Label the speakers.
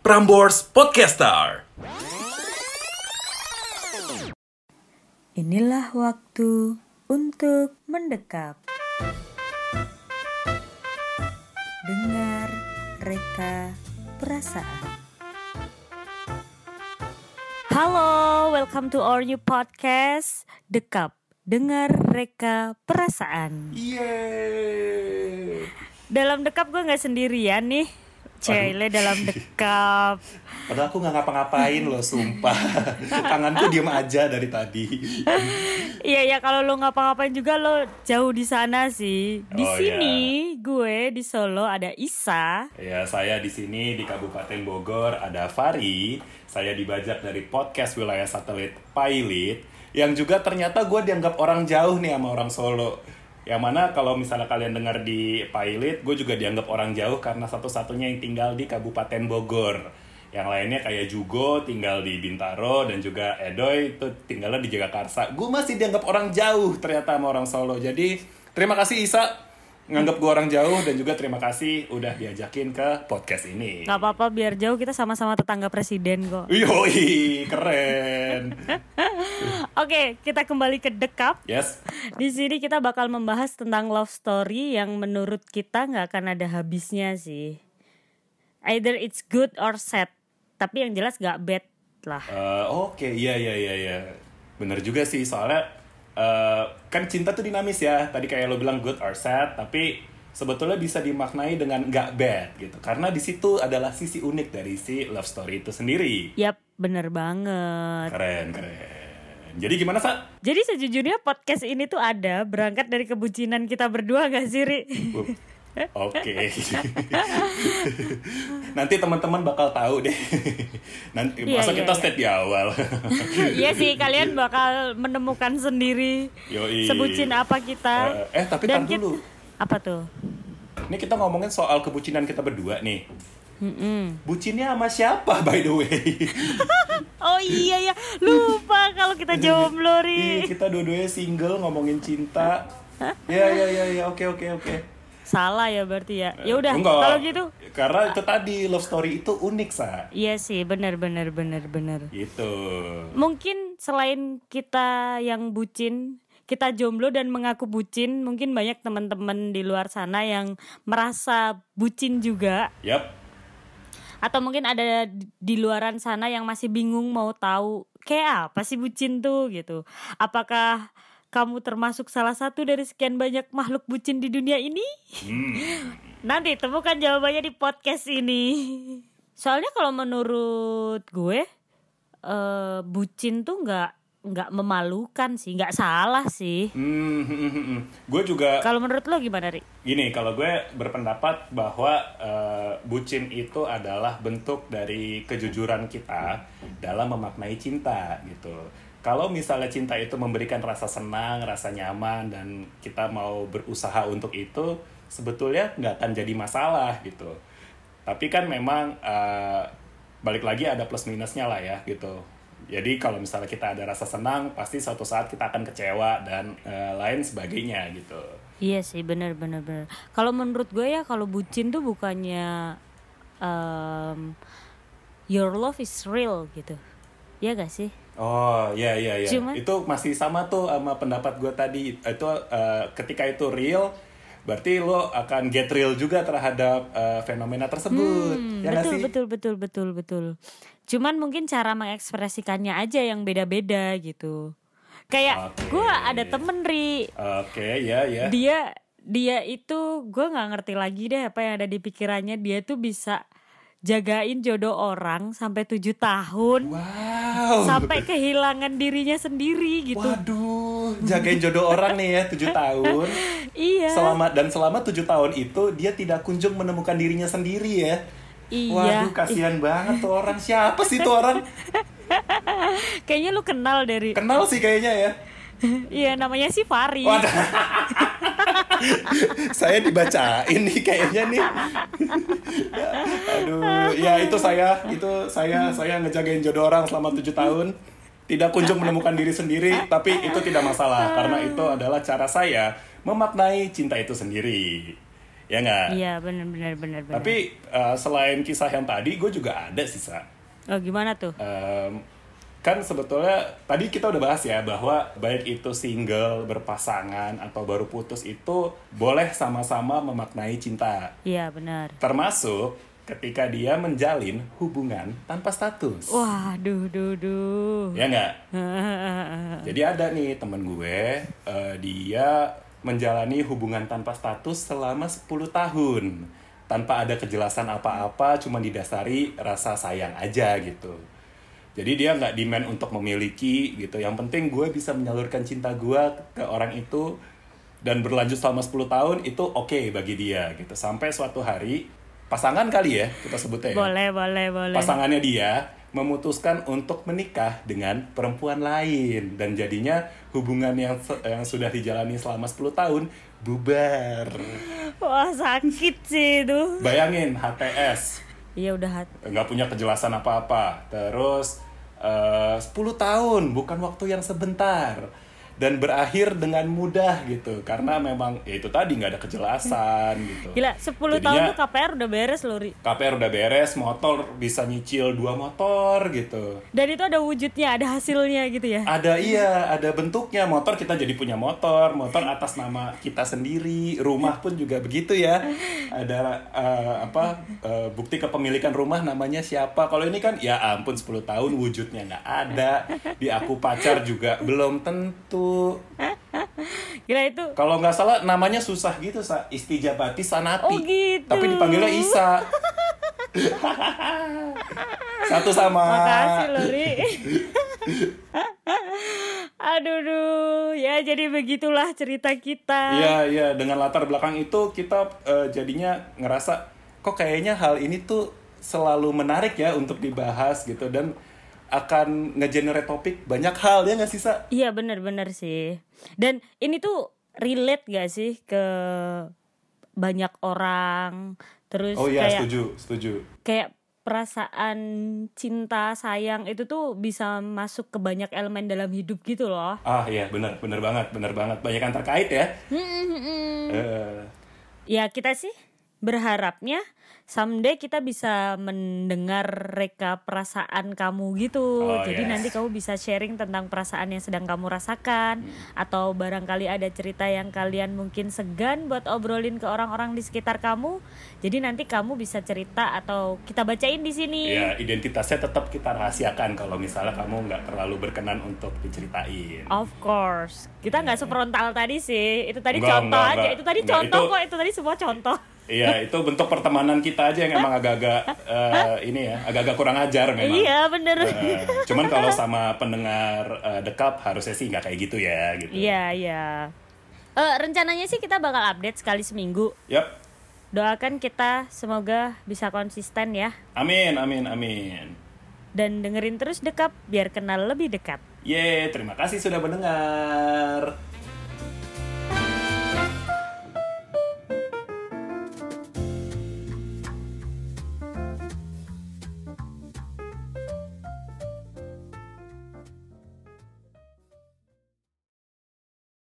Speaker 1: Prambors Podcaster.
Speaker 2: Inilah waktu untuk mendekap. Dengar reka perasaan. Halo, welcome to our new podcast Dekap. Dengar reka perasaan.
Speaker 1: Yeay.
Speaker 2: Dalam dekap gue nggak sendirian nih. Cile dalam dekap.
Speaker 1: Padahal aku nggak ngapa-ngapain loh, sumpah. Tanganku diem aja dari tadi.
Speaker 2: Iya ya kalau lo ngapa-ngapain juga lo jauh di sana sih. Di
Speaker 1: Oh,
Speaker 2: sini gue di Solo ada Isa.
Speaker 1: Ya, saya di sini di Kabupaten Bogor ada Fari. Saya dibajak dari podcast wilayah satelit Pilot yang juga ternyata gue dianggap orang jauh nih sama orang Solo. Yang mana kalau misalnya kalian dengar di Pilot, gue juga dianggap orang jauh karena satu-satunya yang tinggal di Kabupaten Bogor. Yang lainnya kayak Jugo tinggal di Bintaro dan juga Edoy itu tinggalnya di Jagakarsa. Gue masih dianggap orang jauh ternyata sama orang Solo. Jadi terima kasih Isa nganggap gue orang jauh dan juga terima kasih udah diajakin ke podcast ini.
Speaker 2: Gak apa-apa biar jauh kita sama-sama tetangga presiden kok.
Speaker 1: Yoi, keren.
Speaker 2: Oke, kita kembali ke dekap.
Speaker 1: Yes,
Speaker 2: Di sini kita bakal membahas tentang love story yang menurut kita nggak akan ada habisnya sih. Either it's good or sad. Tapi yang jelas gak bad lah.
Speaker 1: Eh, oke, iya iya iya iya, bener juga sih soalnya eh, kan cinta tuh dinamis ya. Tadi kayak lo bilang good or sad, tapi sebetulnya bisa dimaknai dengan nggak bad gitu. Karena di situ adalah sisi unik dari si love story itu sendiri.
Speaker 2: Yap, bener banget.
Speaker 1: Keren keren. Jadi gimana Sa?
Speaker 2: Jadi sejujurnya podcast ini tuh ada berangkat dari kebucinan kita berdua gak sih, Ri?
Speaker 1: Wup. Oke. Nanti teman-teman bakal tahu deh. Nanti
Speaker 2: Iya,
Speaker 1: masa
Speaker 2: iya,
Speaker 1: kita
Speaker 2: iya.
Speaker 1: state di awal.
Speaker 2: Iya sih, kalian bakal menemukan sendiri
Speaker 1: Yoi.
Speaker 2: sebutin apa kita.
Speaker 1: Eh, eh, tapi
Speaker 2: Dan
Speaker 1: tar dulu.
Speaker 2: kit- Apa tuh?
Speaker 1: Ini kita ngomongin soal kebucinan kita berdua nih. Bucinnya sama siapa by the way?
Speaker 2: Oh iya ya, lupa kalau kita jomblo,
Speaker 1: Ih,
Speaker 2: Ri.
Speaker 1: kita dua-duanya single ngomongin cinta. Ya ya ya ya oke oke oke.
Speaker 2: Salah ya berarti ya. Ya udah,
Speaker 1: Enggak.
Speaker 2: kalau gitu.
Speaker 1: Karena itu tadi love story itu unik sa.
Speaker 2: Iya sih, benar benar benar benar.
Speaker 1: Gitu.
Speaker 2: Mungkin selain kita yang bucin, kita jomblo dan mengaku bucin, mungkin banyak teman-teman di luar sana yang merasa bucin juga
Speaker 1: Yap.
Speaker 2: atau mungkin ada di- di luaran sana yang masih bingung mau tahu kayak apa sih bucin tuh gitu. Apakah kamu termasuk salah satu dari sekian banyak makhluk bucin di dunia ini?
Speaker 1: Hmm.
Speaker 2: Nanti temukan jawabannya di podcast ini. Soalnya kalau menurut gue, eh, bucin tuh nggak nggak memalukan sih, nggak salah sih.
Speaker 1: Hmm, hmm, hmm, hmm. gue juga
Speaker 2: Kalau menurut lo gimana, Ri?
Speaker 1: Gini, kalau gue berpendapat bahwa eh, bucin itu adalah bentuk dari kejujuran kita dalam memaknai cinta gitu. Kalau misalnya cinta itu memberikan rasa senang, rasa nyaman, dan kita mau berusaha untuk itu, sebetulnya nggak akan jadi masalah gitu. Tapi kan memang eh, balik lagi ada plus minusnya lah ya gitu. Jadi kalau misalnya kita ada rasa senang, pasti suatu saat kita akan kecewa dan eh, lain sebagainya gitu.
Speaker 2: Iya sih bener bener bener. Kalau menurut gue ya kalau bucin tuh bukannya em, your love is real gitu. Ya gak sih?
Speaker 1: Oh ya ya ya.
Speaker 2: Cuman-
Speaker 1: Itu masih sama tuh sama pendapat gue tadi. Itu eh, ketika itu real, berarti lo akan get real juga terhadap eh, fenomena tersebut. ya nggak
Speaker 2: Hmm, betul
Speaker 1: sih?
Speaker 2: betul betul betul betul. Cuman mungkin cara mengekspresikannya aja yang beda-beda gitu. Kayak
Speaker 1: Oke.
Speaker 2: gue ada temen ri
Speaker 1: Oke ya ya.
Speaker 2: dia dia itu gue nggak ngerti lagi deh apa yang ada di pikirannya dia tuh bisa jagain jodoh orang sampai tujuh tahun
Speaker 1: Wow.
Speaker 2: sampai kehilangan dirinya sendiri gitu.
Speaker 1: Waduh, jagain jodoh orang nih ya 7 tahun.
Speaker 2: Iya.
Speaker 1: Selama dan selama 7 tahun itu dia tidak kunjung menemukan dirinya sendiri ya.
Speaker 2: Iya.
Speaker 1: Waduh, kasihan banget tuh orang. Siapa sih tuh orang?
Speaker 2: Kayaknya lu kenal dari
Speaker 1: Kenal sih kayaknya ya.
Speaker 2: Iya namanya sih Fari.
Speaker 1: Waduh. saya dibacain nih kayaknya nih. Aduh, ya itu saya, itu saya, saya ngejagain jodoh orang selama tujuh tahun. Tidak kunjung menemukan diri sendiri, tapi itu tidak masalah karena itu adalah cara saya memaknai cinta itu sendiri. ya nggak
Speaker 2: Iya benar-benar benar-benar.
Speaker 1: tapi eh, selain kisah yang tadi gue juga ada sih Sa.
Speaker 2: oh gimana tuh?
Speaker 1: Eh. Em, kan sebetulnya tadi kita udah bahas ya bahwa baik itu single berpasangan atau baru putus itu boleh sama-sama memaknai cinta
Speaker 2: Iya benar.
Speaker 1: termasuk ketika dia menjalin hubungan tanpa status
Speaker 2: Wah, duh, duh, duh.
Speaker 1: ya nggak Jadi ada nih temen gue, eh, dia menjalani hubungan tanpa status selama 10 tahun. Tanpa ada kejelasan apa-apa, cuma didasari rasa sayang aja gitu. Jadi dia nggak demand untuk memiliki gitu. Yang penting gue bisa menyalurkan cinta gue ke orang itu dan berlanjut selama 10 tahun itu oke bagi dia gitu. Sampai suatu hari pasangan kali ya kita sebutnya ya.
Speaker 2: boleh, boleh, boleh.
Speaker 1: Pasangannya dia memutuskan untuk menikah dengan perempuan lain dan jadinya hubungan yang se- yang sudah dijalani selama 10 tahun bubar.
Speaker 2: Wah, sakit sih itu.
Speaker 1: Bayangin HTS
Speaker 2: Iya udah hat-
Speaker 1: nggak punya kejelasan apa-apa. Terus eh, 10 tahun bukan waktu yang sebentar dan berakhir dengan mudah gitu karena memang ya itu tadi nggak ada kejelasan gitu.
Speaker 2: Hmm. Gila, 10 tahun
Speaker 1: Jadinya-
Speaker 2: tuh KPR udah beres loh, Ri.
Speaker 1: KPR udah beres, motor bisa nyicil dua motor gitu.
Speaker 2: Dan itu ada wujudnya, ada hasilnya gitu ya.
Speaker 1: ada iya ada bentuknya motor kita jadi punya motor motor atas nama kita sendiri rumah pun juga begitu ya ada eh, apa eh, bukti kepemilikan rumah namanya siapa kalau ini kan ya ampun 10 tahun wujudnya nggak ada di aku pacar juga belum tentu
Speaker 2: Gila itu.
Speaker 1: kalau nggak salah namanya susah gitu sa istijabati sanati
Speaker 2: Oh, gitu.
Speaker 1: tapi dipanggilnya Isa satu sama
Speaker 2: Makasih loh, Ri. Aduh, duh. ya jadi begitulah cerita kita.
Speaker 1: Iya, iya, dengan latar belakang itu kita eh, jadinya ngerasa kok kayaknya hal ini tuh selalu menarik ya untuk dibahas gitu dan akan ngegenerate topik banyak hal ya nggak sih Sa?
Speaker 2: Iya benar-benar sih. Dan ini tuh relate gak sih ke banyak orang terus
Speaker 1: Oh iya,
Speaker 2: kayak
Speaker 1: setuju, setuju.
Speaker 2: kayak perasaan cinta sayang itu tuh bisa masuk ke banyak elemen dalam hidup gitu loh.
Speaker 1: Ah iya, benar, benar banget, benar banget. Banyak yang terkait ya.
Speaker 2: Hmm.
Speaker 1: Eh,
Speaker 2: Ya kita sih berharapnya someday kita bisa mendengar reka perasaan kamu gitu.
Speaker 1: Oh,
Speaker 2: Jadi
Speaker 1: yes.
Speaker 2: nanti kamu bisa sharing tentang perasaan yang sedang kamu rasakan
Speaker 1: Hmm.
Speaker 2: atau barangkali ada cerita yang kalian mungkin segan buat obrolin ke orang-orang di sekitar kamu. Jadi nanti kamu bisa cerita atau kita bacain di sini.
Speaker 1: Iya, identitasnya tetap kita rahasiakan kalau misalnya kamu nggak terlalu berkenan untuk diceritain.
Speaker 2: Of course, kita nggak sefrontal tadi sih. Itu tadi
Speaker 1: Iya. Nggak,
Speaker 2: contoh
Speaker 1: nggak,
Speaker 2: aja.
Speaker 1: nggak.
Speaker 2: Itu tadi
Speaker 1: Nggak,
Speaker 2: contoh
Speaker 1: itu-
Speaker 2: kok. Itu tadi semua contoh.
Speaker 1: Iya, itu bentuk pertemanan kita aja yang emang agak-agak eh, ini ya, agak-agak kurang ajar memang.
Speaker 2: Iya bener.
Speaker 1: Eh, cuman kalau sama pendengar eh, The Cup harusnya sih nggak kayak gitu ya gitu.
Speaker 2: Iya iya. Eh, rencananya sih kita bakal update sekali seminggu.
Speaker 1: Yap.
Speaker 2: Doakan kita semoga bisa konsisten ya.
Speaker 1: Amin, amin, amin.
Speaker 2: Dan dengerin terus dekap biar kenal lebih dekat.
Speaker 1: Yeay, terima kasih sudah mendengar.